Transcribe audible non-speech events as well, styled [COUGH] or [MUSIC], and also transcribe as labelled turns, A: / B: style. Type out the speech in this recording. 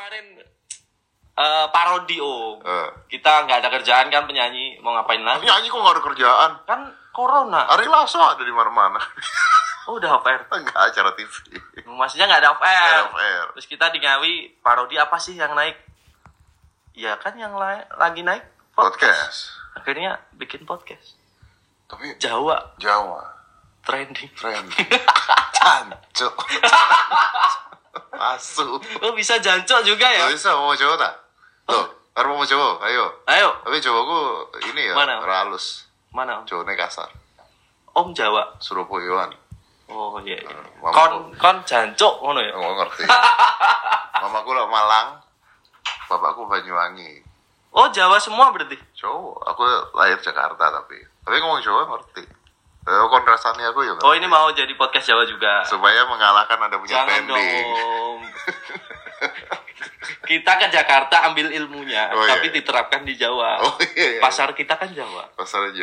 A: kemarin eh, parodi om.
B: Eh.
A: Kita nggak ada kerjaan kan penyanyi mau ngapain
B: Tapi
A: lagi?
B: nyanyi kok gak ada kerjaan.
A: Kan corona.
B: Ari Lasso ada di mana-mana. [LAUGHS]
A: Oh, udah off air.
B: Enggak acara TV.
A: Maksudnya nggak ada off air.
B: Ada off air.
A: Terus kita di Ngawi parodi apa sih yang naik? Ya kan yang la- lagi naik
B: Podcast.
A: Akhirnya bikin podcast.
B: Tapi
A: Jawa
B: Jawa.
A: trending. [LAUGHS]
B: Keren. Cancuk. Asu.
A: Lo Oh, bisa jancok juga ya?
B: Gak bisa mau Jawa tak? Tuh. Harus mau Jawa. Ayo.
A: Ayo,
B: Tapi Jawaku ini ya.
A: Mana?
B: Ralus.
A: mana Om?
B: Jawanya kasar.
A: Om Jawa.
B: Surabayaan.
A: Oh iya. iya.
B: Mama-
A: Kon kon jancok ngono ya.
B: Enggak
A: [LAUGHS]
B: ngerti. Mamaku lah Malang. Bapakku Banyuwangi.
A: Oh Jawa semua berarti.
B: Jawa, aku lahir Jakarta tapi tapi ngomong Jawa ngerti. Eh, kontrasannya aku ya. ngerti.
A: Oh ini mau jadi podcast Jawa juga.
B: supaya mengalahkan ada punya
A: Jangan
B: pending.
A: dong. [LAUGHS] kita ke Jakarta ambil ilmunya,
B: Oh, iya.
A: tapi diterapkan di Jawa.
B: [LAUGHS] Oh iya. iya.
A: Pasar kita kan Jawa.
B: pasar aja.